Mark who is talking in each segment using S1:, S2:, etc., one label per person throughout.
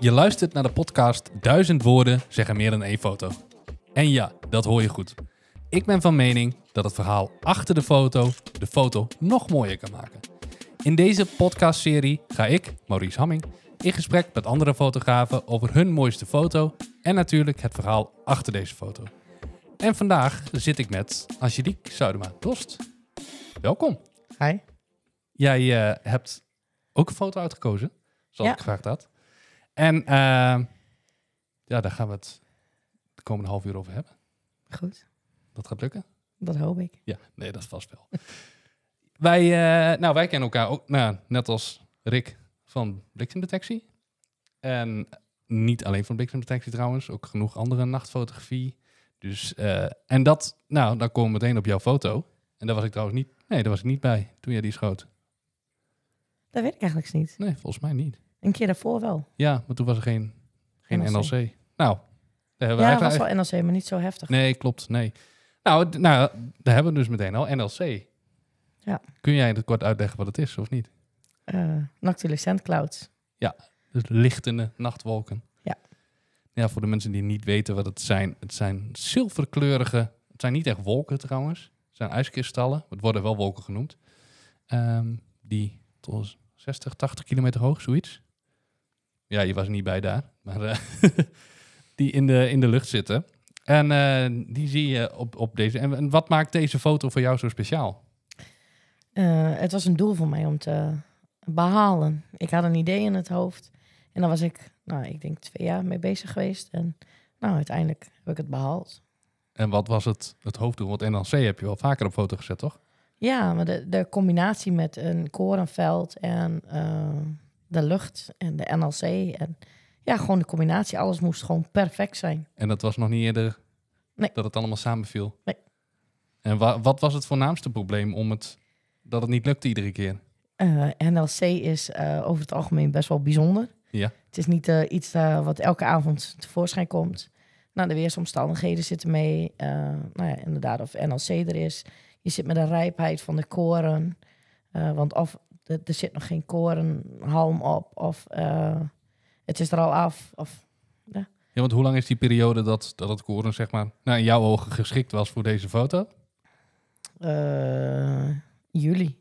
S1: Je luistert naar de podcast Duizend woorden zeggen meer dan één foto. En ja, dat hoor je goed. Ik ben van mening dat het verhaal achter de foto de foto nog mooier kan maken. In deze podcastserie ga ik, Maurice Hamming, in gesprek met andere fotografen over hun mooiste foto en natuurlijk het verhaal achter deze foto. En vandaag zit ik met Angelique Zuidema-Dost. Welkom.
S2: Hi.
S1: Jij eh, hebt ook een foto uitgekozen, zoals
S2: Ja.
S1: ik gevraagd had. En eh, ja, daar gaan we het de komende half uur over hebben.
S2: Goed,
S1: Dat gaat lukken?
S2: dat hoop ik.
S1: Ja, nee, dat vast wel. wij, eh, nou, wij kennen elkaar ook, nou, net als Rick van Bliksemdetectie. En niet alleen van Bliksemdetectie trouwens, ook genoeg andere nachtfotografie. Dus, eh, en dat, nou, dan komen we meteen op jouw foto. En daar was ik trouwens niet, nee, daar was ik niet bij toen jij die schoot.
S2: Dat weet ik eigenlijk niet.
S1: Nee, volgens mij niet.
S2: Een keer daarvoor wel.
S1: Ja, maar toen was er geen, geen NLC.
S2: NLC.
S1: Nou, daar hebben we
S2: ja,
S1: eigenlijk...
S2: was wel NLC, maar niet zo heftig.
S1: Nee, klopt, nee. Nou, d- nou, daar hebben we dus meteen al, NLC.
S2: Ja.
S1: Kun jij in het kort uitleggen wat het is, of niet?
S2: Eh Noctilucent Clouds.
S1: Dus lichtende nachtwolken.
S2: Ja.
S1: Ja, voor de mensen die niet weten wat het zijn. Het zijn zilverkleurige... Het zijn niet echt wolken trouwens. Het zijn ijskristallen. Het worden wel wolken genoemd. Ehm, die tot 60, 80 kilometer hoog, zoiets. Ja, je was er niet bij daar. Maar eh, die in de, in de lucht zitten. En eh, die zie je op, op deze. En, en wat maakt deze foto voor jou zo speciaal?
S2: Eh, het was een doel voor mij om te behalen. Ik had een idee in het hoofd. En daar was ik, nou, ik denk twee jaar mee bezig geweest. En nou, uiteindelijk heb ik het behaald.
S1: En wat was het, het hoofddoel? Want NLC heb je wel vaker op foto gezet, toch?
S2: Ja, maar de, de combinatie met een korenveld en eh, de lucht en de NLC. En ja, gewoon de combinatie. Alles moest gewoon perfect zijn.
S1: En dat was nog niet eerder
S2: Nee.
S1: dat het allemaal samenviel.
S2: Nee.
S1: En wa- wat was het voornaamste probleem om het dat het niet lukte iedere keer?
S2: Eh, NLC is eh, over het algemeen best wel bijzonder.
S1: Ja.
S2: Het is niet eh, iets eh, wat elke avond tevoorschijn komt. Nou, de weersomstandigheden zitten mee. Eh, nou ja, inderdaad, of NLC er is. Je zit met de rijpheid van de koren. Eh, want of er er zit nog geen korenhalm op. Of eh, het is er al af. Of,
S1: Ja, want hoe lang is die periode dat, dat het koren zeg maar, nou, in jouw ogen geschikt was voor deze foto? Oké.
S2: eh, juli.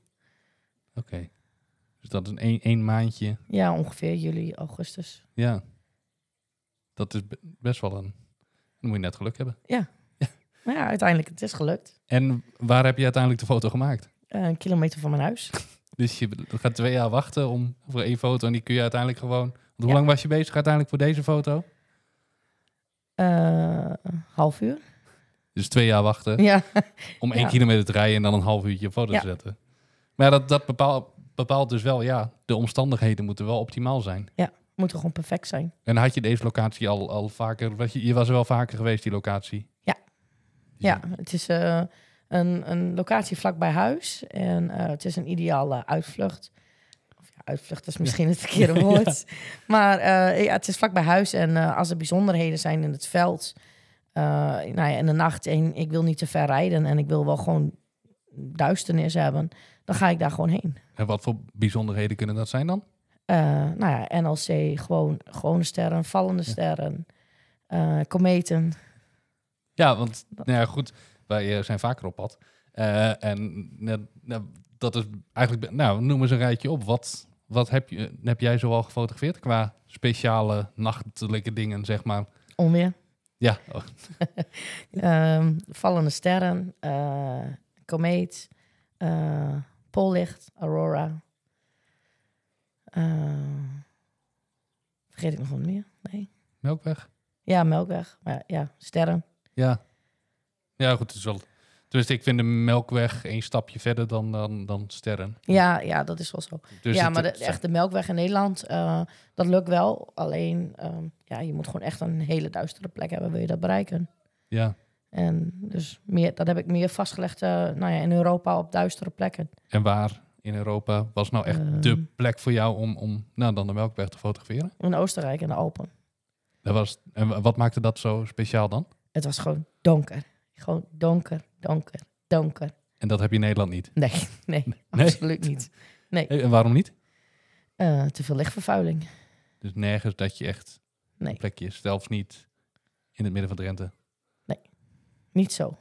S1: Dus dat is een één, één maandje.
S2: Ja, ongeveer juli, augustus.
S1: Ja. Dat is be- best wel een... Dan moet je net geluk hebben.
S2: Maar Nou ja, uiteindelijk, het is gelukt.
S1: En waar heb je uiteindelijk de foto gemaakt?
S2: Eh, een kilometer van mijn huis.
S1: Dus je gaat twee jaar wachten om, voor één foto en die kun je uiteindelijk gewoon... Want hoe
S2: Ja.
S1: lang was je bezig uiteindelijk voor deze foto?
S2: Eh, half uur.
S1: Dus twee jaar wachten.
S2: Ja.
S1: om één
S2: Ja.
S1: kilometer te rijden en dan een half uurtje een foto
S2: Ja.
S1: te zetten. Maar ja, dat, dat bepaalt, bepaalt dus wel, ja, de omstandigheden moeten wel optimaal zijn.
S2: moet er gewoon perfect zijn.
S1: En had je deze locatie al, al vaker, was je, je was er wel vaker geweest, die locatie?
S2: Ja.
S1: Dus
S2: Ja, het is eh, een, een locatie vlakbij huis. En eh, het is een ideale uitvlucht. Of ja, uitvlucht is misschien het verkeerde woord. Maar eh, ja, het is vlakbij huis. En eh, als er bijzonderheden zijn in het veld... eh, nou ja, in de nacht, en ik wil niet te ver rijden... en ik wil wel gewoon duisternis hebben... dan ga ik daar gewoon heen.
S1: En wat voor bijzonderheden kunnen dat zijn dan?
S2: Eh, nou ja, NLC, gewoon, gewone sterren, vallende sterren... eh, kometen.
S1: Ja, want nou ja, goed, wij eh, zijn vaker op pad. Eh, en nou, nou, dat is eigenlijk, nou, noem eens een rijtje op. Wat, wat heb, je, heb jij zoal gefotografeerd qua speciale nachtelijke dingen, zeg maar?
S2: Onweer.
S1: Ja, oh,
S2: Ehm, vallende sterren, eh komeet, eh, pollicht, aurora. Eh, vergeet ik nog wat meer? Nee.
S1: Melkweg?
S2: Ja, Melkweg. Maar ja, sterren.
S1: Ja. Ja, goed. Het is wel... Dus ik vind de Melkweg één stapje verder dan, dan, dan sterren.
S2: Ja, ja, dat is wel zo.
S1: Dus
S2: ja,
S1: het-
S2: maar de,
S1: het zijn-
S2: echt de Melkweg in Nederland, eh, dat lukt wel. Alleen, ehm, ja, je moet gewoon echt een hele duistere plek hebben, wil je dat bereiken.
S1: Ja.
S2: En dus meer, dat heb ik meer vastgelegd eh, nou ja, in Europa op duistere plekken.
S1: En waar in Europa was nou echt
S2: Ehm.
S1: de plek voor jou om, om nou, dan de Melkweg te fotograferen?
S2: In Oostenrijk en de Alpen.
S1: Dat was, en wa- wat maakte dat zo speciaal dan?
S2: Het was gewoon donker. Gewoon donker, donker, donker.
S1: En dat heb je in Nederland niet.
S2: Nee, nee,
S1: Nee?
S2: absoluut niet.
S1: Eh, En waarom niet?
S2: Eh, te veel lichtvervuiling.
S1: Dus nergens dat je echt
S2: Nee.
S1: een plekje is. Zelfs niet in het midden van Drenthe.
S2: Niet zo.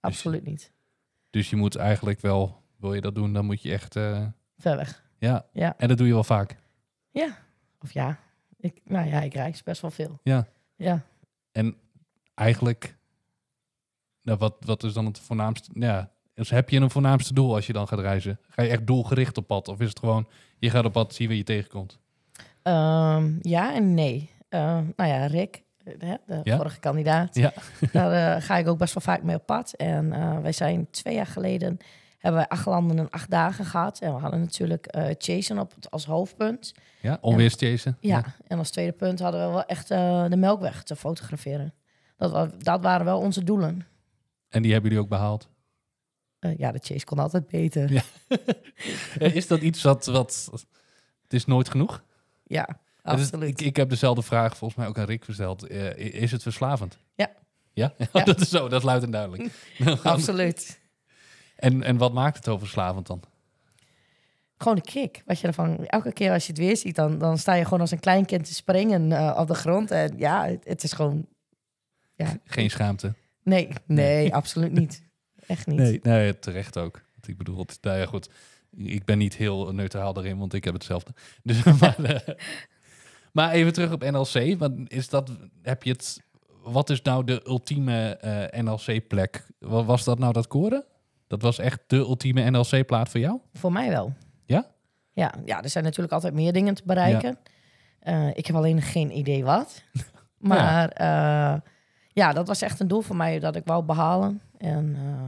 S2: Absoluut niet.
S1: Dus je moet eigenlijk wel, wil je dat doen, dan moet je echt... eh,
S2: Ver weg.
S1: ja.
S2: Ja.
S1: en dat doe je wel vaak.
S2: Of ja. Ik, nou ja, ik reis best wel veel.
S1: Ja.
S2: Ja.
S1: En eigenlijk, nou, wat, wat is dan het voornaamste? nou Ja, dus heb je een voornaamste doel als je dan gaat reizen? Ga je echt doelgericht op pad? Of is het gewoon, je gaat op pad, zie wat je tegenkomt?
S2: Ehm, ja en nee. Ehm, nou ja, Rick, eh, hè, de
S1: Ja.
S2: vorige kandidaat.
S1: Ja.
S2: Daar eh, ga ik ook best wel vaak mee op pad. En eh, wij zijn twee jaar geleden hebben wij acht landen en acht dagen gehad. En we hadden natuurlijk eh Jason op, het- als hoofdpunt.
S1: Ja, onweerschasen?
S2: Ja. En als tweede punt hadden we wel echt eh, de Melkweg te fotograferen. Dat, wa- dat waren wel onze doelen.
S1: En die hebben jullie ook behaald?
S2: Eh, ja, de Chase kon altijd beter.
S1: Ja. Eh, Is dat iets wat, wat... Het is nooit genoeg?
S2: Ja,
S1: Het is-
S2: absoluut.
S1: dus ik, ik heb dezelfde vraag volgens mij ook aan Rick gesteld. Eh, i- is het verslavend?
S2: Ja.
S1: Ja?
S2: Ja.
S1: dat is zo, dat is luid en duidelijk.
S2: Absoluut.
S1: en, en wat maakt het zo verslavend dan?
S2: Gewoon de kick. Wat je ervan, elke keer als je het weer ziet, dan, dan sta je gewoon als een klein kind te springen eh, op de grond. En ja, het, het is gewoon. Ja.
S1: Geen schaamte?
S2: Nee, nee, absoluut niet. Echt niet.
S1: Nee, nee, terecht ook. Want Ik bedoel, het, nou ja, goed. Ik ben niet heel neutraal daarin, want ik heb hetzelfde. Dus, maar, eh, maar even terug op NLC. Want is dat, heb je het, wat is nou de ultieme eh, NLC-plek? Was dat nou dat koren? Dat was echt de ultieme NLC-plaat voor jou?
S2: Voor mij wel.
S1: Ja?
S2: ja? Ja, er zijn natuurlijk altijd meer dingen te bereiken. Eh, ik heb alleen geen idee wat. maar ja. ja, dat was echt een doel voor mij dat ik wou behalen. En eh,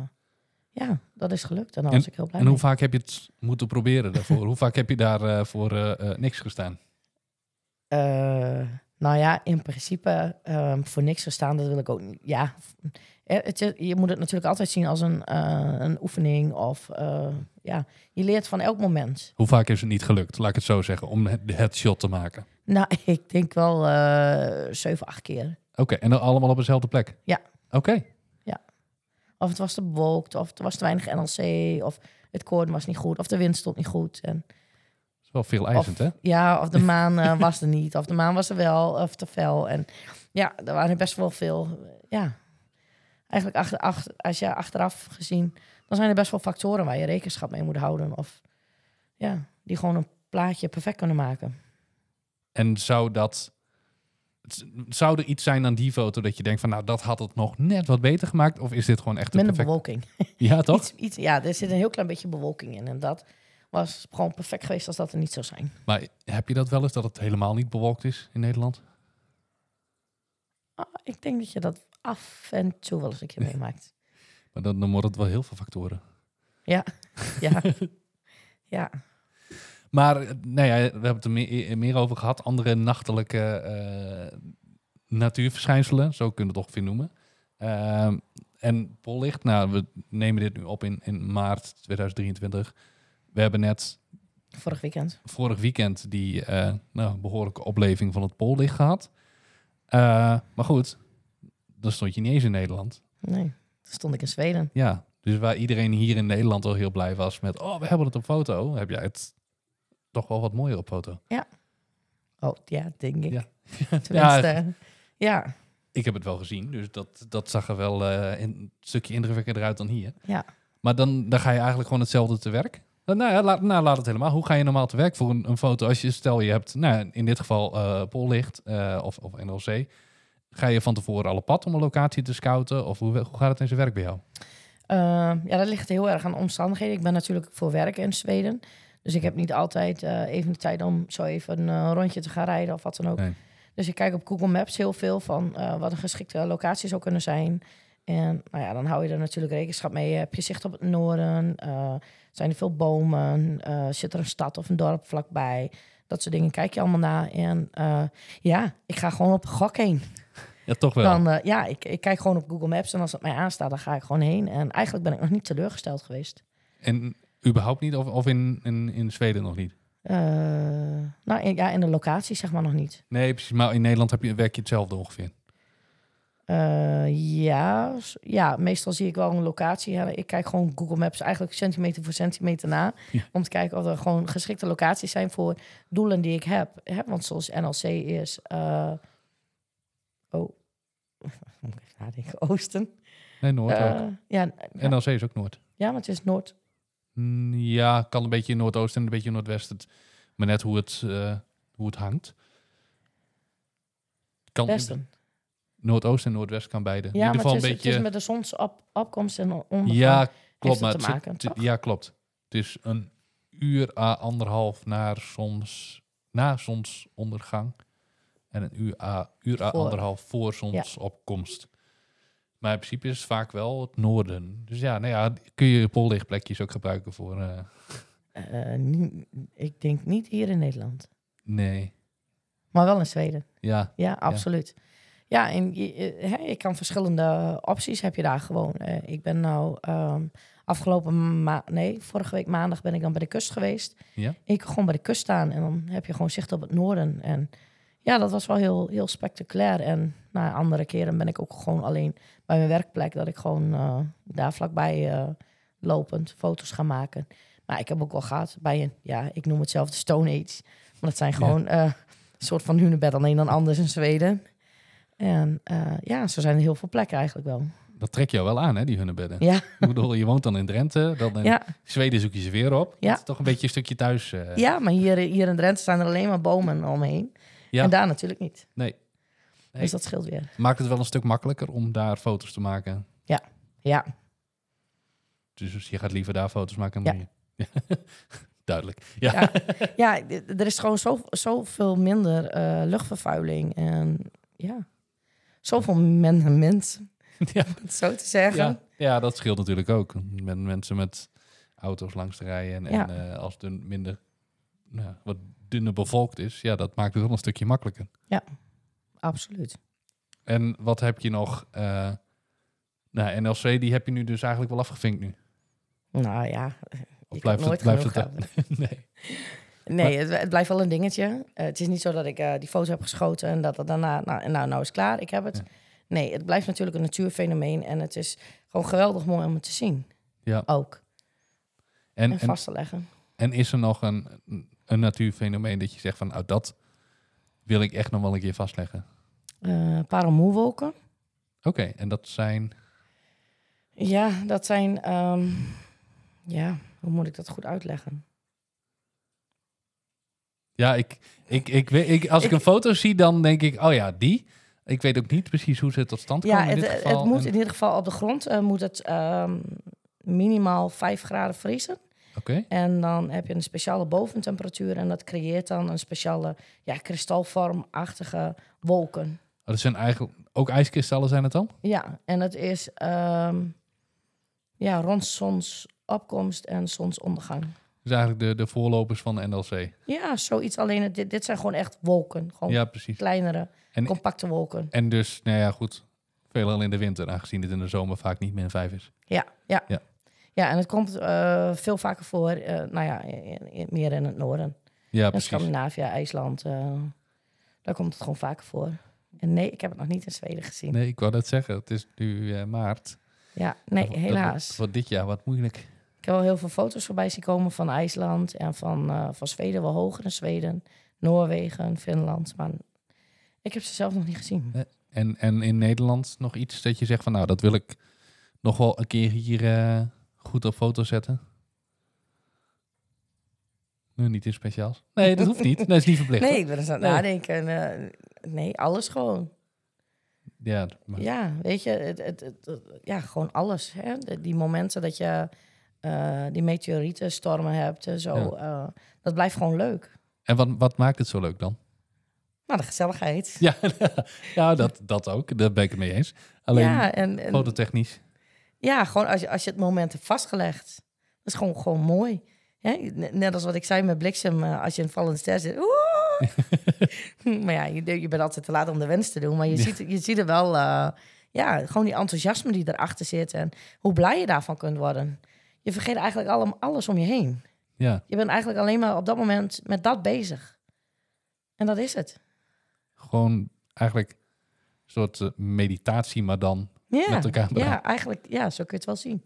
S2: ja, dat is gelukt. En daar was ik heel blij
S1: En
S2: mee.
S1: hoe vaak heb je het moeten proberen daarvoor? hoe vaak heb je daarvoor voor eh, eh, niks gestaan?
S2: Eh, nou ja, in principe ehm, voor niks gestaan, dat wil ik ook niet. Ja, eh, het is- je moet het natuurlijk altijd zien als een, eh, een oefening of eh, ja, je leert van elk moment.
S1: Hoe vaak is het niet gelukt, laat ik het zo zeggen, om het, het shot te maken?
S2: Nou, ik denk wel eh zeven, acht keer.
S1: Oké, en dan allemaal op dezelfde plek?
S2: Ja.
S1: Oké.
S2: Of het was te bewolkt, of er was te weinig NLC, of het koord was niet goed, of de wind stond niet goed. En,
S1: Dat is wel veel eisend, hè?
S2: ja, of de maan eh, was er niet, of de maan was er wel, of te fel. En ja, er waren best wel veel. eh, Ja, eigenlijk achter, achter, als je achteraf gezien, dan zijn er best wel factoren waar je rekenschap mee moet houden. Of ja, die gewoon een plaatje perfect kunnen maken.
S1: En zou dat. z- Zou er iets zijn aan die foto dat je denkt van nou, dat had het nog net wat beter gemaakt? Of is dit gewoon echt een
S2: Met een
S1: perfect...
S2: bewolking.
S1: Ja, toch?
S2: Iets, iets, ja, er zit een heel klein beetje bewolking in. En dat was gewoon perfect geweest als dat er niet zou zijn.
S1: Maar heb je dat wel eens dat het helemaal niet bewolkt is in Nederland?
S2: Ah, ik denk dat je dat af en toe wel eens een keer meemaakt.
S1: Maar dan, dan wordt het wel heel veel factoren.
S2: Ja. ja.
S1: Maar eh, nou ja, we hebben het er me- eh, meer, over gehad. Andere nachtelijke eh, natuurverschijnselen, zo kunnen we het ongeveer noemen. Ehm, en Pollicht, nou, we nemen dit nu op in, in maart 2023. We hebben net
S2: Vorig weekend.
S1: vorig weekend die eh, nou, behoorlijke opleving van het pollicht gehad. Eh, maar goed, dan stond je niet eens in Nederland.
S2: Nee, toen stond ik in Zweden.
S1: Ja, dus waar iedereen hier in Nederland al heel blij was met... oh, we hebben het op foto, heb jij het toch wel wat mooier op foto.
S2: Oh, ja, denk ik.
S1: Ja.
S2: Ja. Tenminste, ja.
S1: Ik heb het wel gezien, dus dat, dat zag er wel eh, een stukje indrukwekkender uit dan hier.
S2: Ja.
S1: Maar dan, dan ga je eigenlijk gewoon hetzelfde te werk. Nou, ja, laat, nou, laat het helemaal. Hoe ga je normaal te werk voor een, een foto? Als je, stel je hebt, nou, in dit geval eh Pollicht eh, of, of NLC. Ga je van tevoren alle pad om een locatie te scouten? Of hoe, hoe gaat het in zijn werk bij jou?
S2: Eh, ja, dat ligt heel erg aan de omstandigheden. Ik ben natuurlijk voor werk in Zweden. Dus ik heb niet altijd eh, even de tijd om zo even een eh, rondje te gaan rijden of wat dan ook.
S1: Nee.
S2: Dus ik kijk op Google Maps heel veel van eh, wat een geschikte locatie zou kunnen zijn. En nou ja, dan hou je er natuurlijk rekenschap mee. Heb je zicht op het noorden? Eh, zijn er veel bomen? Eh, zit er een stad of een dorp vlakbij? Dat soort dingen kijk je allemaal naar. En eh, ja, ik ga gewoon op gok heen.
S1: Ja, toch wel.
S2: Dan, eh, ja, ik, ik kijk gewoon op Google Maps en als het mij aanstaat, dan ga ik gewoon heen. En eigenlijk ben ik nog niet teleurgesteld geweest.
S1: En überhaupt niet? Of, of in, in, in Zweden nog niet?
S2: Eh, nou in- ja, in de locatie zeg maar nog niet.
S1: Nee, precies. Maar in Nederland heb je, werk je hetzelfde ongeveer.
S2: Eh, Eh, ja, s- ja, meestal zie ik wel een locatie. Ja, ik kijk gewoon Google Maps eigenlijk centimeter voor centimeter na.
S1: Ja.
S2: Om te kijken of er gewoon geschikte locaties zijn voor doelen die ik heb. Hè, want zoals NLC is... eh, oh, moet ik even nadenken. Oosten.
S1: Nee, Noord ook.
S2: Eh, ja, ja,
S1: NLC is ook Noord.
S2: ja, maar het is Noord.
S1: Mm, Ja, kan een beetje in Noordoosten en een beetje in Noordwesten. Het- Maar net hoe het, eh, hoe het hangt. Kan
S2: Westen.
S1: Noordoosten en Noordwest kan beide.
S2: Ja,
S1: in ieder
S2: maar
S1: geval
S2: het is,
S1: een
S2: het
S1: beetje.
S2: is met de zonsopkomst en ondergang.
S1: ja, klopt.
S2: het
S1: Maar
S2: te
S1: het zit-
S2: maken,
S1: het-
S2: toch?
S1: ja, klopt. Het is een uur à anderhalf naar soms na zonsondergang. En een uur à, uur à
S2: Voor.
S1: anderhalf voor zonsopkomst. Maar in principe is het vaak wel het noorden. Dus ja, nou ja, kun je pollichtplekjes ook gebruiken voor. eh,
S2: Eh, niet- ik denk niet hier in Nederland.
S1: nee.
S2: Maar wel in Zweden.
S1: Ja,
S2: Ja, absoluut. Ja, en je, je- hè, je kan verschillende opties heb je daar gewoon. Eh, ik ben nou ehm, afgelopen maand, nee, vorige week maandag ben ik dan bij de kust geweest.
S1: Ja.
S2: Ik kon gewoon bij de kust staan en dan heb je gewoon zicht op het noorden. En ja, dat was wel heel, heel spectaculair. En na andere keren ben ik ook gewoon alleen bij mijn werkplek, dat ik gewoon eh, daar vlakbij eh, lopend foto's ga maken. Maar ik heb ook wel gehad bij een, ja, ik noem het zelf de Stone Age. Maar dat zijn gewoon eh, een soort van hunebed, alleen dan anders in Zweden. En eh, ja, zo zijn er heel veel plekken eigenlijk wel.
S1: dat trek jou wel aan, hè, die hunnebedden.
S2: Ja,
S1: Ik bedoel, je woont dan in Drenthe, dan in
S2: ja,
S1: Zweden zoek je ze weer op.
S2: Ja.
S1: Dat is toch een beetje een stukje thuis. eh,
S2: ja maar hier, hier in Drenthe staan er alleen maar bomen omheen.
S1: Ja.
S2: En daar natuurlijk niet.
S1: Nee. Nee.
S2: Dus dat scheelt weer.
S1: Maakt het wel een stuk makkelijker om daar foto's te maken.
S2: Ja,
S1: Dus je gaat liever daar foto's maken
S2: Ja.
S1: dan hier. Duidelijk. Ja.
S2: Ja. ja d- er is gewoon zo- zoveel minder eh, luchtvervuiling. En ja, zoveel men, mensen,
S1: Ja.
S2: om het zo te zeggen.
S1: Ja. ja, dat scheelt natuurlijk ook. Met mensen met auto's langs te rijden. En,
S2: Ja.
S1: en eh, als het een minder, nou, wat dunner bevolkt is, ja, dat maakt het wel een stukje makkelijker.
S2: Absoluut.
S1: En wat heb je nog? eh, nou, NLC, die heb je nu dus eigenlijk wel afgevinkt nu.
S2: Nou ja,
S1: Of
S2: je kan
S1: blijft het,
S2: nooit
S1: blijft
S2: genoeg
S1: het
S2: hebben.
S1: daar? Nee.
S2: Nee, het, het blijft wel een dingetje. Eh, het is niet zo dat ik eh, die foto heb geschoten en dat het daarna, nou, nou, nou is het klaar, ik heb het.
S1: Ja.
S2: Nee, het blijft natuurlijk een natuurfenomeen en het is gewoon geweldig mooi om het te zien.
S1: Ja.
S2: Ook.
S1: En,
S2: En,
S1: en,
S2: vast te leggen.
S1: en is er nog een, een natuurfenomeen dat je zegt van, nou, dat wil ik echt nog wel een keer vastleggen?
S2: Eh parelmoerwolken.
S1: Oké, en dat zijn...
S2: Ja, dat zijn, ehm, ja, hoe moet ik dat goed uitleggen?
S1: Ja, ik, ik, ik, weet- ik, als ik,
S2: Ik-
S1: een foto zie, dan denk ik, oh ja, die. Ik weet ook niet precies hoe ze tot stand
S2: Ja,
S1: komen in
S2: het,
S1: dit
S2: het
S1: geval.
S2: moet
S1: En-
S2: in ieder geval op de grond eh, moet het ehm, minimaal 5 graden vriezen.
S1: Oké,
S2: En dan heb je een speciale boventemperatuur en dat creëert dan een speciale ja, kristalvormachtige wolken.
S1: Oh, dat zijn eigenlijk ook ijskristallen zijn het dan?
S2: Ja, en dat is ehm, ja, rond zonsopkomst en zonsondergang.
S1: Dus eigenlijk de, de voorlopers van de NLC.
S2: Ja, zoiets. Alleen het- dit, dit zijn gewoon echt wolken. Gewoon
S1: Ja, precies.
S2: kleinere,
S1: En-
S2: compacte wolken.
S1: En dus, nou ja, goed, veelal in de winter, aangezien het in de zomer vaak niet meer een vijf is.
S2: Ja, ja.
S1: Ja.
S2: ja. en het komt eh, veel vaker voor, eh, nou ja, in- in- meer in het noorden.
S1: Ja,
S2: in
S1: precies.
S2: Scandinavië, IJsland, eh, daar komt het gewoon vaker voor. En nee, ik heb het nog niet in Zweden gezien.
S1: Nee, ik wou dat zeggen. Het is nu eh, maart.
S2: Ja, nee,
S1: Dat- dat wordt
S2: helaas.
S1: Voor dit jaar wat moeilijk.
S2: Ik heb wel heel veel foto's voorbij zien komen van IJsland en van, eh, van Zweden, wel hoger in Zweden, Noorwegen, Finland. Maar ik heb ze zelf nog niet gezien.
S1: En, en in Nederland nog iets dat je zegt van, nou, dat wil ik nog wel een keer hier eh, goed op foto zetten? Nee, niet in speciaals. Nee, dat hoeft niet. Dat is niet verplicht.
S2: Nee,
S1: hoor.
S2: ik ben eens aan het
S1: Nee.
S2: nadenken. eh, nee, alles gewoon.
S1: Ja, maar,
S2: Ja, weet je, het, het, het- het- ja, gewoon alles. Hè? De- die momenten dat je eh, die meteorietenstormen hebt en zo,
S1: Ja.
S2: eh, dat blijft gewoon leuk.
S1: En wat, wat maakt het zo leuk dan?
S2: Maar de gezelligheid.
S1: Ja, ja dat, dat ook. Daar ben ik het mee eens. Alleen
S2: ja, en, en-
S1: fototechnisch.
S2: Ja, gewoon als je, als je het moment hebt vastgelegd. Dat is gewoon, gewoon mooi. Ja, net net als wat ik zei met bliksem, eh, als je een vallende ster zit. oeh. maar ja, je, je bent altijd te laat om de wens te doen. Maar je,
S1: Ja.
S2: ziet, je ziet er wel, eh, ja, gewoon die enthousiasme die erachter zit. En hoe blij je daarvan kunt worden. Je vergeet eigenlijk allemaal alles om je heen.
S1: Ja,
S2: Je bent eigenlijk alleen maar op dat moment met dat bezig. En dat is het.
S1: gewoon eigenlijk een soort eh, meditatie, maar dan
S2: Ja,
S1: met de camera.
S2: ja, eigenlijk, ja, zo kun je het wel zien.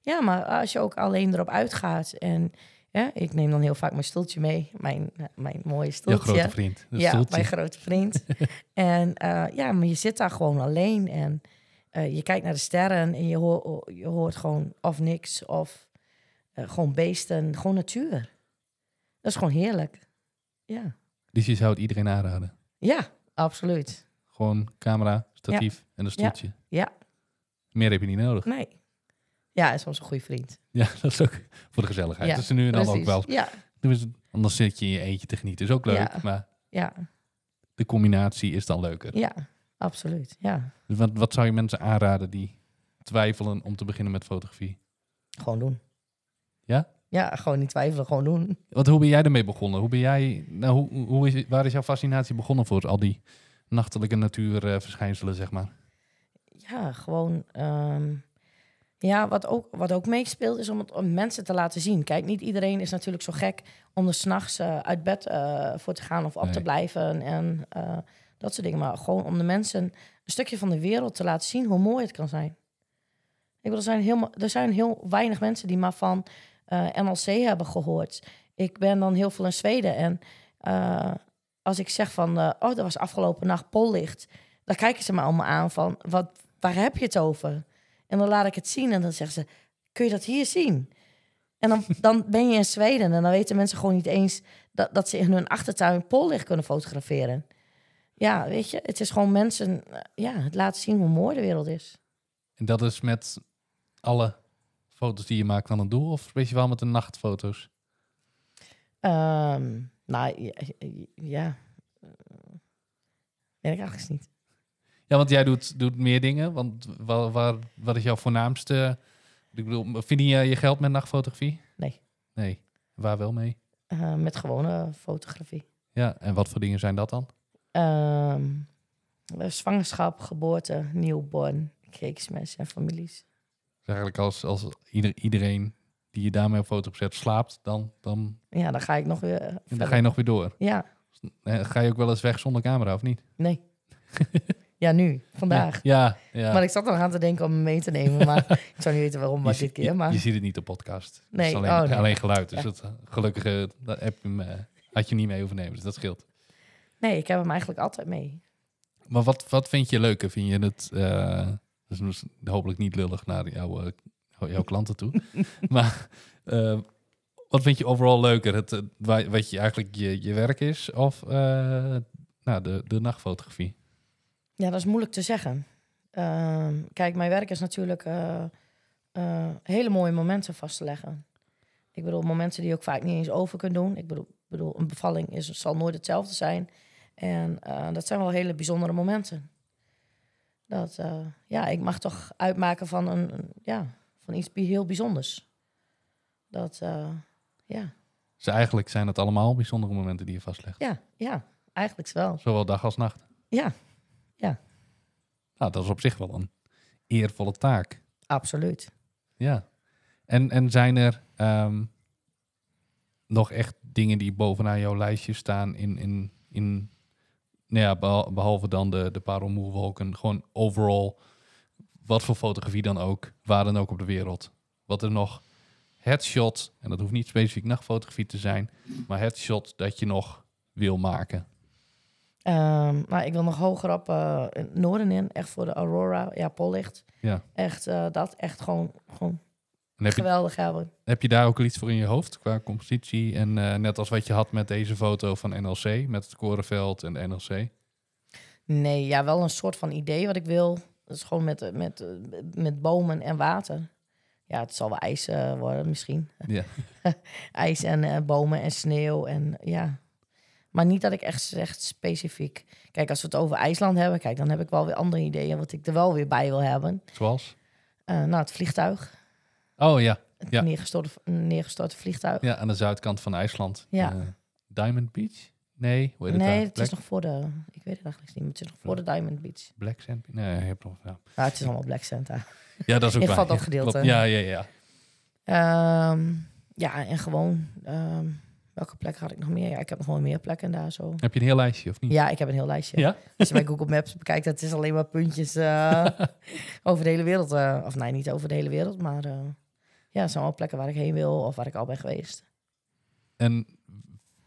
S2: Ja, maar als je ook alleen erop uitgaat en ja, ik neem dan heel vaak mijn stoeltje mee, mijn, eh, mijn mooie
S1: Je
S2: stoeltje.
S1: grote vriend. Dat
S2: ja,
S1: stoeltje.
S2: mijn grote vriend. en eh, ja, maar je zit daar gewoon alleen en eh, je kijkt naar de sterren en je, hoor, oh, je hoort gewoon of niks of eh, gewoon beesten, gewoon natuur. Dat is gewoon heerlijk. Ja,
S1: Dus je zou het iedereen aanraden.
S2: ja absoluut.
S1: Gewoon camera, statief en een stoeltje.
S2: Ja.
S1: Meer heb je niet nodig.
S2: Nee. Ja, hij is soms een goede vriend.
S1: Ja, dat is ook voor de gezelligheid.
S2: Ja,
S1: dat is er nu en dan ook wel.
S2: Ja,
S1: Doe eens- Anders zit je in je eentje te genieten. Is ook leuk,
S2: Ja.
S1: maar
S2: ja,
S1: de combinatie is dan leuker.
S2: ja, absoluut. Ja,
S1: Dus wat, wat zou je mensen aanraden die twijfelen om te beginnen met fotografie?
S2: gewoon doen.
S1: Ja?
S2: Ja, gewoon niet twijfelen, gewoon doen.
S1: Wat, hoe ben jij ermee begonnen? Hoe ben jij, nou, hoe, hoe is, waar is jouw fascinatie begonnen voor al die nachtelijke natuurverschijnselen, zeg maar?
S2: Ja, gewoon. ehm, ja, wat ook, wat ook meespeelt is om het om mensen te laten zien. Kijk, niet iedereen is natuurlijk zo gek om er s'nachts eh uit bed eh, voor te gaan of op
S1: Nee.
S2: te blijven en eh, dat soort dingen. Maar gewoon om de mensen een stukje van de wereld te laten zien hoe mooi het kan zijn. Ik bedoel, er zijn, helemaal, er zijn heel weinig mensen die maar van eh, NLC hebben gehoord. Ik ben dan heel veel in Zweden en eh, als ik zeg van, eh, oh, dat was afgelopen nacht pollicht, dan kijken ze me allemaal aan van, wat, waar heb je het over? En dan laat ik het zien en dan zeggen ze, kun je dat hier zien? En dan, dan ben je in Zweden en dan weten mensen gewoon niet eens dat, dat ze in hun achtertuin pollicht kunnen fotograferen. Ja, weet je, het is gewoon mensen, eh, ja, het laten zien hoe mooi de wereld is.
S1: En dat is met alle foto's die je maakt aan het doel? Of speciaal met de nachtfoto's?
S2: Ehm, nou, ja, ja. eh, weet ik eigenlijk niet.
S1: Ja, want jij doet, doet meer dingen. Want waar, waar, wat is jouw voornaamste... Ik bedoel, verdien je je geld met nachtfotografie?
S2: Nee.
S1: Nee. Waar wel mee?
S2: Eh, met gewone fotografie.
S1: Ja, en wat voor dingen zijn dat dan?
S2: Ehm, eh, zwangerschap, geboorte, newborn, mensen en families.
S1: Dus eigenlijk als, als ieder, iedereen die je daarmee op foto zet slaapt, dan, dan,
S2: Ja, dan ga ik nog weer. eh,
S1: dan
S2: verder.
S1: ga je nog weer door.
S2: Ja,
S1: Eh, Ga je ook wel eens weg zonder camera, of niet?
S2: nee. ja, nu, vandaag.
S1: Ja, ja.
S2: Maar ik zat nog aan te denken om hem mee te nemen, maar ik zou niet weten waarom, maar
S1: je,
S2: dit
S1: zie- je-
S2: keer. Maar
S1: je ziet het niet op podcast. Het
S2: Nee,
S1: is alleen,
S2: oh, nee.
S1: alleen geluid. Dus
S2: Ja.
S1: dat, eh, gelukkig eh, dat heb je hem, eh, had je niet mee hoeven nemen. Dus dat scheelt.
S2: nee, ik heb hem eigenlijk altijd mee.
S1: Maar wat, wat vind je leuker? Vind je het... eh, dat is hopelijk niet lullig naar jouw, eh, jouw klanten toe. maar eh, wat vind je overal leuker? Het, eh, wa- wat je eigenlijk je, je werk is? Of eh, nou, de, de nachtfotografie?
S2: Ja, dat is moeilijk te zeggen. Ehm, kijk, mijn werk is natuurlijk eh, eh, hele mooie momenten vast te leggen. Ik bedoel, momenten die je ook vaak niet eens over kunt doen. Ik bedoel, bedoel een bevalling is, zal nooit hetzelfde zijn. En eh, dat zijn wel hele bijzondere momenten. Dat, eh, ja, ik mag toch uitmaken van, een, een- ja, van iets bi- heel bijzonders. Dat, eh, ja,
S1: Dus eigenlijk zijn het allemaal bijzondere momenten die je vastlegt.
S2: ja, ja, eigenlijk wel.
S1: Zowel dag als nacht.
S2: Ja,
S1: Nou, dat is op zich wel een eervolle taak.
S2: absoluut.
S1: Ja. En, en zijn er ehm, nog echt dingen die bovenaan jouw lijstje staan in... in, in nou ja, behal- behalve dan de, de parelmoerwolken, gewoon overal, wat voor fotografie dan ook, waar dan ook op de wereld. Wat er nog headshot, en dat hoeft niet specifiek nachtfotografie te zijn, maar headshot dat je nog wil maken.
S2: Ehm, maar ik wil nog hoger op eh, in het noorden in. Echt voor de Aurora, ja, Pollicht.
S1: Ja.
S2: Echt eh, dat, echt gewoon, gewoon
S1: En heb je
S2: geweldig hebben.
S1: Heb je daar ook al iets voor in je hoofd qua compositie? En eh, net als wat je had met deze foto van NLC, met het korenveld en de NLC.
S2: Nee, ja, wel een soort van idee wat ik wil. Dat is gewoon met, eh, met, eh, met bomen en water. Ja, het zal wel ijs eh, worden misschien.
S1: Ja.
S2: ijs en eh, bomen en sneeuw en ja. Maar niet dat ik echt zeg specifiek. Kijk, als we het over IJsland hebben, kijk, dan heb ik wel weer andere ideeën wat ik er wel weer bij wil hebben.
S1: Zoals?
S2: Eh nou, het vliegtuig.
S1: Oh ja,
S2: Het
S1: Ja.
S2: neergestorte, neergestorte vliegtuig.
S1: ja aan de zuidkant van IJsland.
S2: Ja.
S1: Eh, Diamond Beach? Nee, hoe heet het
S2: Nee,
S1: daar?
S2: het
S1: Black,
S2: is nog voor de. Ik weet het eigenlijk niet, maar het is nog voor de Diamond Beach.
S1: Black Sand? Nee, je hebt nog... Ja,
S2: Nou, het is allemaal Black Santa.
S1: ja dat is ook
S2: In ieder geval
S1: waar.
S2: dat
S1: Ja,
S2: gedeelte.
S1: klopt. Ja, ja, ja.
S2: Ehm, ja, en gewoon ehm, Welke plek had ik nog meer? Ja, ik heb nog wel meer plekken daar zo.
S1: Heb je een heel lijstje of niet?
S2: Ja, ik heb een heel lijstje.
S1: Hm. Ja?
S2: Als je bij Google Maps bekijkt, dat is alleen maar puntjes eh, over de hele wereld. eh, of nee, niet over de hele wereld, maar eh, ja, het zijn wel plekken waar ik heen wil of waar ik al ben geweest.
S1: En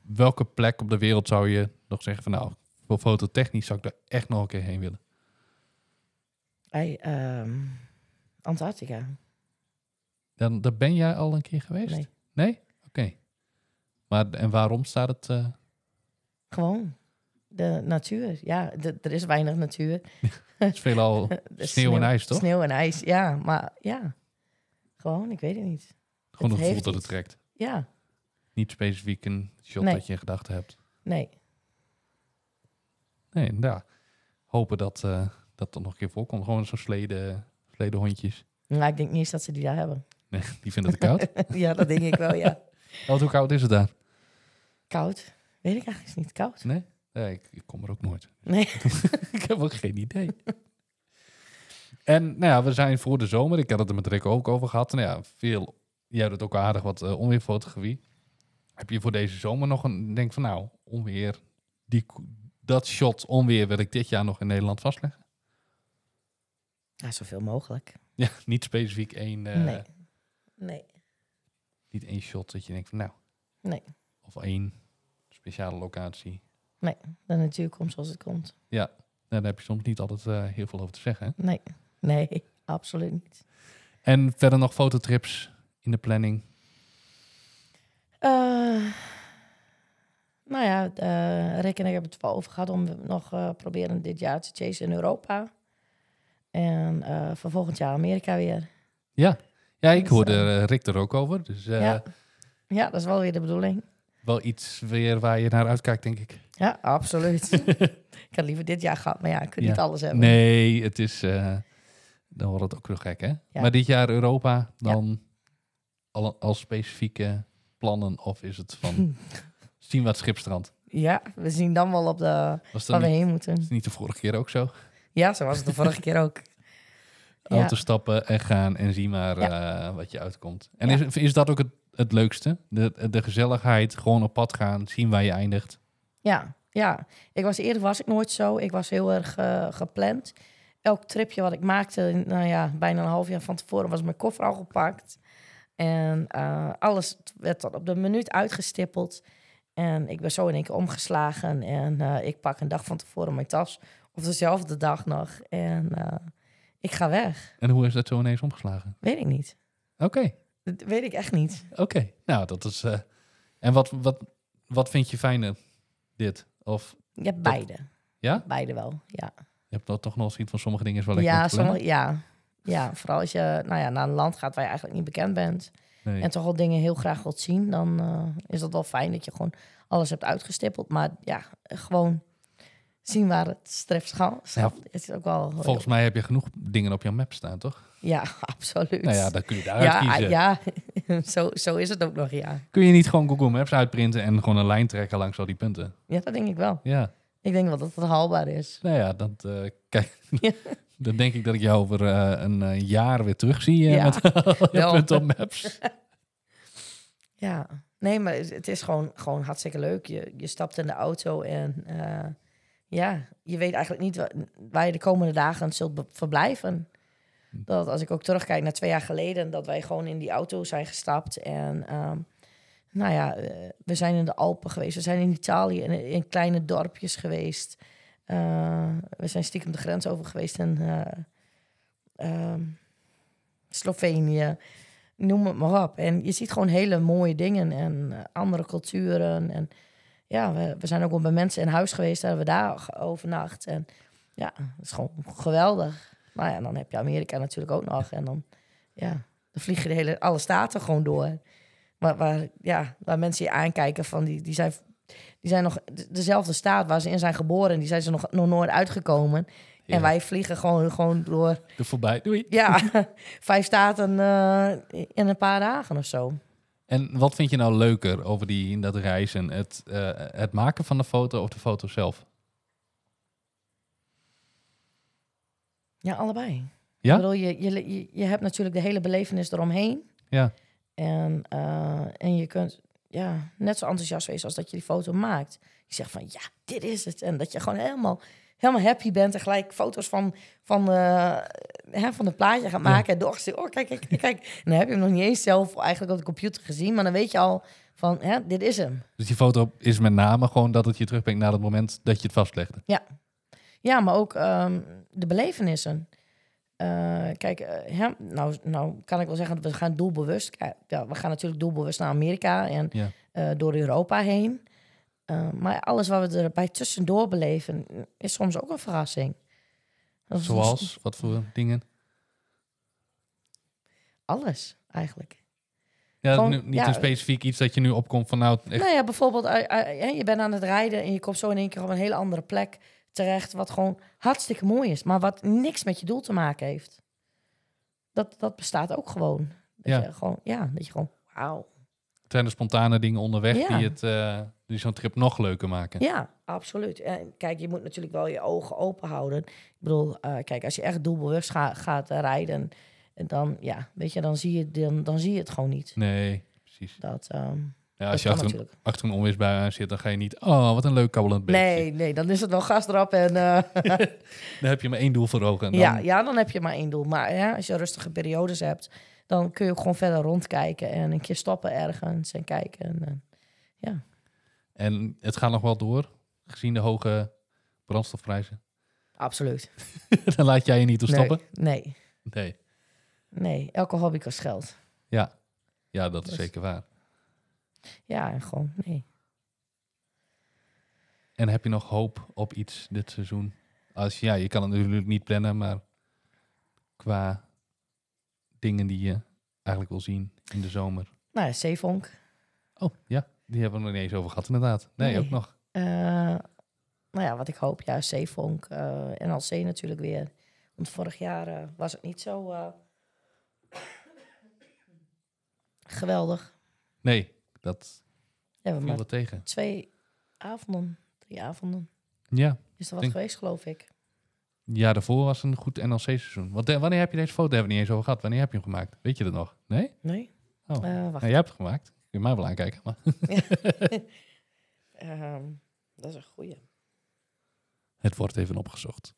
S1: welke plek op de wereld zou je nog zeggen van nou, voor fototechnisch zou ik daar echt nog een keer heen willen?
S2: Hey, ehm, Antarctica.
S1: Dan, daar ben jij al een keer geweest?
S2: Nee.
S1: Nee? Oké. Maar en waarom staat het? eh,
S2: Gewoon. De natuur. Ja, de- er is weinig natuur.
S1: het is veelal
S2: De
S1: sneeuw en ijs, toch?
S2: Sneeuw en ijs, ja. Maar ja, gewoon, ik weet het niet.
S1: gewoon een
S2: heeft
S1: gevoel dat het
S2: iets.
S1: trekt.
S2: Ja,
S1: Niet specifiek een shot
S2: Nee.
S1: dat je in gedachten hebt.
S2: nee.
S1: Nee, nou, hopen dat eh, dat er nog een keer voorkomt. Gewoon zo'n slede, sledehondjes.
S2: Maar Nou, ik denk niet eens dat ze die daar hebben.
S1: Nee, die vinden het koud.
S2: ja, dat denk ik wel, ja.
S1: Want hoe koud is het daar?
S2: Koud. Weet ik eigenlijk niet. Koud.
S1: Nee? Nee, ik, ik kom er ook nooit.
S2: Nee.
S1: ik heb ook geen idee. en nou ja, we zijn voor de zomer. Ik had het er met Rick ook over gehad. Nou ja, veel, jij doet ook aardig wat eh, onweerfotografie. Heb je voor deze zomer nog een, denk van nou, onweer, die, ko- dat shot onweer wil ik dit jaar nog in Nederland vastleggen?
S2: Ja, zoveel mogelijk.
S1: Ja, niet specifiek één, eh,
S2: Nee. Nee.
S1: niet één shot dat je denkt van nou.
S2: Nee.
S1: Of één speciale locatie.
S2: De natuur komt zoals het komt.
S1: Nou, daar heb je soms niet altijd eh, heel veel over te zeggen. hè?
S2: Nee. Nee, absoluut niet.
S1: En verder nog fototrips in de planning.
S2: Eh, nou ja, eh, Rick en ik hebben het er wel over gehad om nog eh, proberen dit jaar te chasen in Europa. En eh voor volgend jaar Amerika weer.
S1: Ja, ja ik
S2: Dus,
S1: hoorde
S2: eh,
S1: eh, Rick er ook over. Dus eh,
S2: ja. ja, dat is wel weer de bedoeling.
S1: wel iets weer waar je naar uitkijkt, denk ik.
S2: Ja, absoluut. ik had liever dit jaar gehad, maar ja, ik kan
S1: Ja.
S2: niet alles hebben.
S1: Nee, het is... eh, dan wordt het ook weer gek, hè?
S2: Ja.
S1: Maar dit jaar Europa dan al, als specifieke plannen? Of is het van zien wat Schipstrand?
S2: Ja, we zien dan wel op de,
S1: Was dat
S2: waar we
S1: niet,
S2: heen
S1: is
S2: moeten.
S1: niet de vorige keer ook zo?
S2: Ja, zo was het de vorige keer ook. Ja.
S1: Auto stappen en gaan en zie maar eh, wat je uitkomt. En is, is dat ook het, het leukste? De, de gezelligheid, gewoon op pad gaan, zien waar je eindigt.
S2: Ja, ja. Ik was eerder was ik nooit zo. Ik was heel erg eh, gepland. Elk tripje wat ik maakte, nou ja, bijna een half jaar van tevoren was mijn koffer al gepakt. En eh, alles werd tot op de minuut uitgestippeld. En ik ben zo in één keer omgeslagen. En eh, ik pak een dag van tevoren mijn tas. Of dezelfde dag nog. En eh, ik ga weg.
S1: En hoe is dat zo ineens omgeslagen?
S2: Weet ik niet.
S1: Oké,
S2: Dat weet ik echt niet.
S1: oké. Nou, dat is... eh, en wat, wat, wat vind je fijner, dit? Of
S2: Je hebt beide.
S1: Ja?
S2: Beide wel, ja.
S1: je hebt dat toch nog zien van sommige dingen is wel lekker om
S2: ja,
S1: te plannen?
S2: sommige, ja. ja, vooral als je nou ja, naar een land gaat waar je eigenlijk niet bekend bent.
S1: Nee.
S2: En toch al dingen heel graag wilt zien. Dan eh, is dat wel fijn dat je gewoon alles hebt uitgestippeld. Maar ja, gewoon zien waar het streft schaal.
S1: Ja,
S2: het is ook wel...
S1: Volgens mij heb je genoeg dingen op jouw map staan, toch?
S2: Ja, absoluut.
S1: Nou ja, dan kun je daaruit
S2: ja,
S1: kiezen.
S2: ja zo, zo is het ook nog, ja.
S1: Kun je niet gewoon Google Maps uitprinten en gewoon een lijn trekken langs al die punten?
S2: Ja, dat denk ik wel.
S1: Ja,
S2: Ik denk wel dat het haalbaar is.
S1: nou ja, dat... eh, kijk, dan denk ik dat ik jou over eh, een eh, jaar weer terug zie eh,
S2: Ja.
S1: met
S2: Wel.
S1: punt op maps.
S2: Ja, nee, maar het het is gewoon, gewoon hartstikke leuk. Je, je stapt in de auto en eh, ja, je weet eigenlijk niet wa- waar je de komende dagen zult be- verblijven. Dat als ik ook terugkijk naar twee jaar geleden, dat wij gewoon in die auto zijn gestapt. En ehm, nou ja, eh, we zijn in de Alpen geweest, we zijn in Italië in, in kleine dorpjes geweest. Eh, we zijn stiekem de grens over geweest in eh, ehm, Slovenië noem het maar op. En je ziet gewoon hele mooie dingen en eh, andere culturen. En ja, we, we zijn ook wel bij mensen in huis geweest, daar hebben we daar ge- overnacht. En ja, dat is gewoon geweldig. Nou ja, en dan heb je Amerika natuurlijk ook nog. En dan, ja, dan vlieg je de hele, alle staten gewoon door. Waar, waar, ja, waar mensen je aankijken van, die, die zijn... Die zijn nog de- dezelfde staat waar ze in zijn geboren. Die zijn ze nog, nog nooit uitgekomen.
S1: Ja.
S2: En wij vliegen gewoon, gewoon door
S1: Er voorbij. Doei.
S2: ja, vijf staten eh, in een paar dagen of zo.
S1: En wat vind je nou leuker over die, dat reizen? Het, eh, het maken van de foto of de foto zelf?
S2: Ja, allebei.
S1: Ja?
S2: Ik bedoel, je, je, je- je hebt natuurlijk de hele belevenis eromheen.
S1: Ja.
S2: En, eh, en je kunt ja, net zo enthousiast wees als dat je die foto maakt. Je zegt van ja, dit is het. En dat je gewoon helemaal, helemaal happy bent en gelijk foto's van, van, eh, hè, van het plaatje gaat maken. En doorgestuurd, oh kijk, kijk, kijk, kijk. En dan heb je hem nog niet eens zelf eigenlijk op de computer gezien. Maar dan weet je al van hè, dit is hem.
S1: Dus die foto is met name gewoon dat het je terugbrengt naar het moment dat je het vastlegde.
S2: Ja, maar ook ehm, de belevenissen. Eh, kijk, eh, hè, nou, nou kan ik wel zeggen, we gaan doelbewust. eh, Ja, we gaan natuurlijk doelbewust naar Amerika en
S1: Ja.
S2: eh, door Europa heen. Eh, maar alles wat we erbij tussendoor beleven, is soms ook een verrassing. Dat is
S1: Zoals, wat voor dingen?
S2: Alles, eigenlijk.
S1: Ja,
S2: Gewoon,
S1: nu- niet
S2: ja.
S1: een specifiek iets dat je nu opkomt van nou, echt,
S2: Nou ja, bijvoorbeeld, eh, eh, hè, je bent aan het rijden en je komt zo in één keer op een hele andere plek terecht, wat gewoon hartstikke mooi is, maar wat niks met je doel te maken heeft. Dat, dat bestaat ook gewoon. Dat
S1: Ja.
S2: je gewoon, ja, dat je gewoon, wauw.
S1: zijn er spontane dingen onderweg
S2: Ja.
S1: die, het, eh, die zo'n trip nog leuker maken.
S2: Ja, absoluut. En kijk, je moet natuurlijk wel je ogen open houden. Ik bedoel, eh, kijk, als je echt doelbewust ga- gaat eh, rijden, en dan, ja, weet je, dan zie je, dan, dan zie je het gewoon niet.
S1: Nee, precies.
S2: Dat, ehm
S1: Ja,
S2: dat
S1: als je
S2: kan
S1: achter een,
S2: natuurlijk.
S1: achter een onweersbui aan zit, dan ga je niet, oh, wat een leuk kabbelend beestje.
S2: Nee, nee, dan is het wel gas erop en... eh,
S1: Dan heb je maar één doel voor ogen. En dan,
S2: Ja, ja, dan heb je maar één doel. Maar ja, als je rustige periodes hebt, dan kun je ook gewoon verder rondkijken en een keer stoppen ergens en kijken. En, eh,
S1: En het gaat nog wel door, gezien de hoge brandstofprijzen.
S2: absoluut.
S1: dan laat jij je niet toe stoppen.
S2: Nee, nee,
S1: Nee.
S2: nee. Elke hobby kost geld.
S1: Ja. ja, dat is
S2: Dus-
S1: zeker waar.
S2: Ja, en gewoon, nee.
S1: En heb je nog hoop op iets dit seizoen? Als, ja, je kan het natuurlijk niet plannen, maar qua dingen die je eigenlijk wil zien in de zomer.
S2: Nou ja, zeevonk.
S1: Oh, ja, die hebben we nog niet eens over gehad inderdaad. Nee,
S2: Nee.
S1: ook nog.
S2: Eh, nou ja, wat ik hoop, ja, zeevonk. eh NLC natuurlijk weer. Want vorig jaar eh, was het niet zo eh, geweldig.
S1: Nee, dat
S2: We hebben
S1: viel
S2: maar
S1: wat tegen.
S2: twee avonden, drie avonden.
S1: Ja.
S2: Is er wat
S1: Denk-
S2: geweest, geloof ik.
S1: ja, daarvoor was een goed NLC-seizoen. Want de- wanneer heb je deze foto? Daar hebben we niet eens over gehad. Wanneer heb je hem gemaakt? Weet je dat nog? Nee?
S2: Nee?
S1: Oh.
S2: Eh, wacht.
S1: Nou, jij hebt het gemaakt. Kun je mij wel aankijken. Maar
S2: Ehm, dat is een goeie.
S1: het wordt even opgezocht.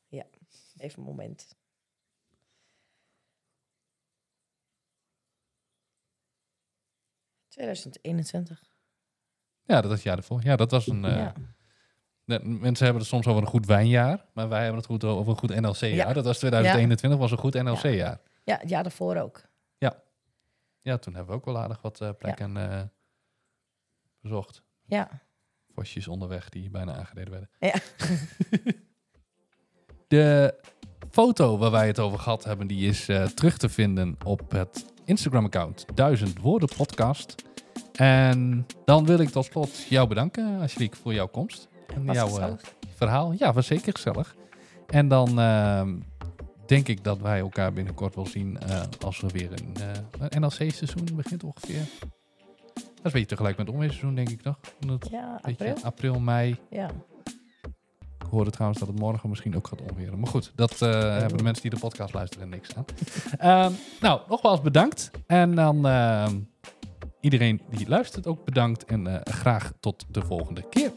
S2: Even een moment. ...2021.
S1: Ja, dat was het jaar ervoor. Ja, dat was een... eh,
S2: ja.
S1: Nee, mensen hebben het soms over een goed wijnjaar, maar wij hebben het goed over een goed NLC-jaar.
S2: Ja.
S1: Dat was 2021, was een goed NLC-jaar. Ja.
S2: ja, het jaar daarvoor ook.
S1: toen hebben we ook wel aardig wat eh, plekken eh, bezocht.
S2: Ja.
S1: Vosjes onderweg die bijna aangereden werden.
S2: Ja.
S1: De foto waar wij het over gehad hebben, die is eh, terug te vinden op het Instagram-account 1000 Woorden Podcast. En dan wil ik tot slot jou bedanken, Angelique, voor jouw komst. En
S2: Was
S1: jouw, eh,
S2: gezellig.
S1: verhaal. Ja, was zeker gezellig. En dan ehm, denk ik dat wij elkaar binnenkort wel zien eh, als er weer een, eh, een NLC-seizoen begint ongeveer. Dat is een beetje tegelijk met het onweerseizoen, denk ik toch? Omdat,
S2: ja,
S1: weet je,
S2: april.
S1: april, mei.
S2: Ja.
S1: Ik hoorde trouwens dat het morgen misschien ook gaat onweren. Maar goed, dat eh, hebben de mensen die de podcast luisteren niks aan. Ehm, nou, nogmaals bedankt. En dan ehm, iedereen die luistert ook bedankt. En eh, graag tot de volgende keer.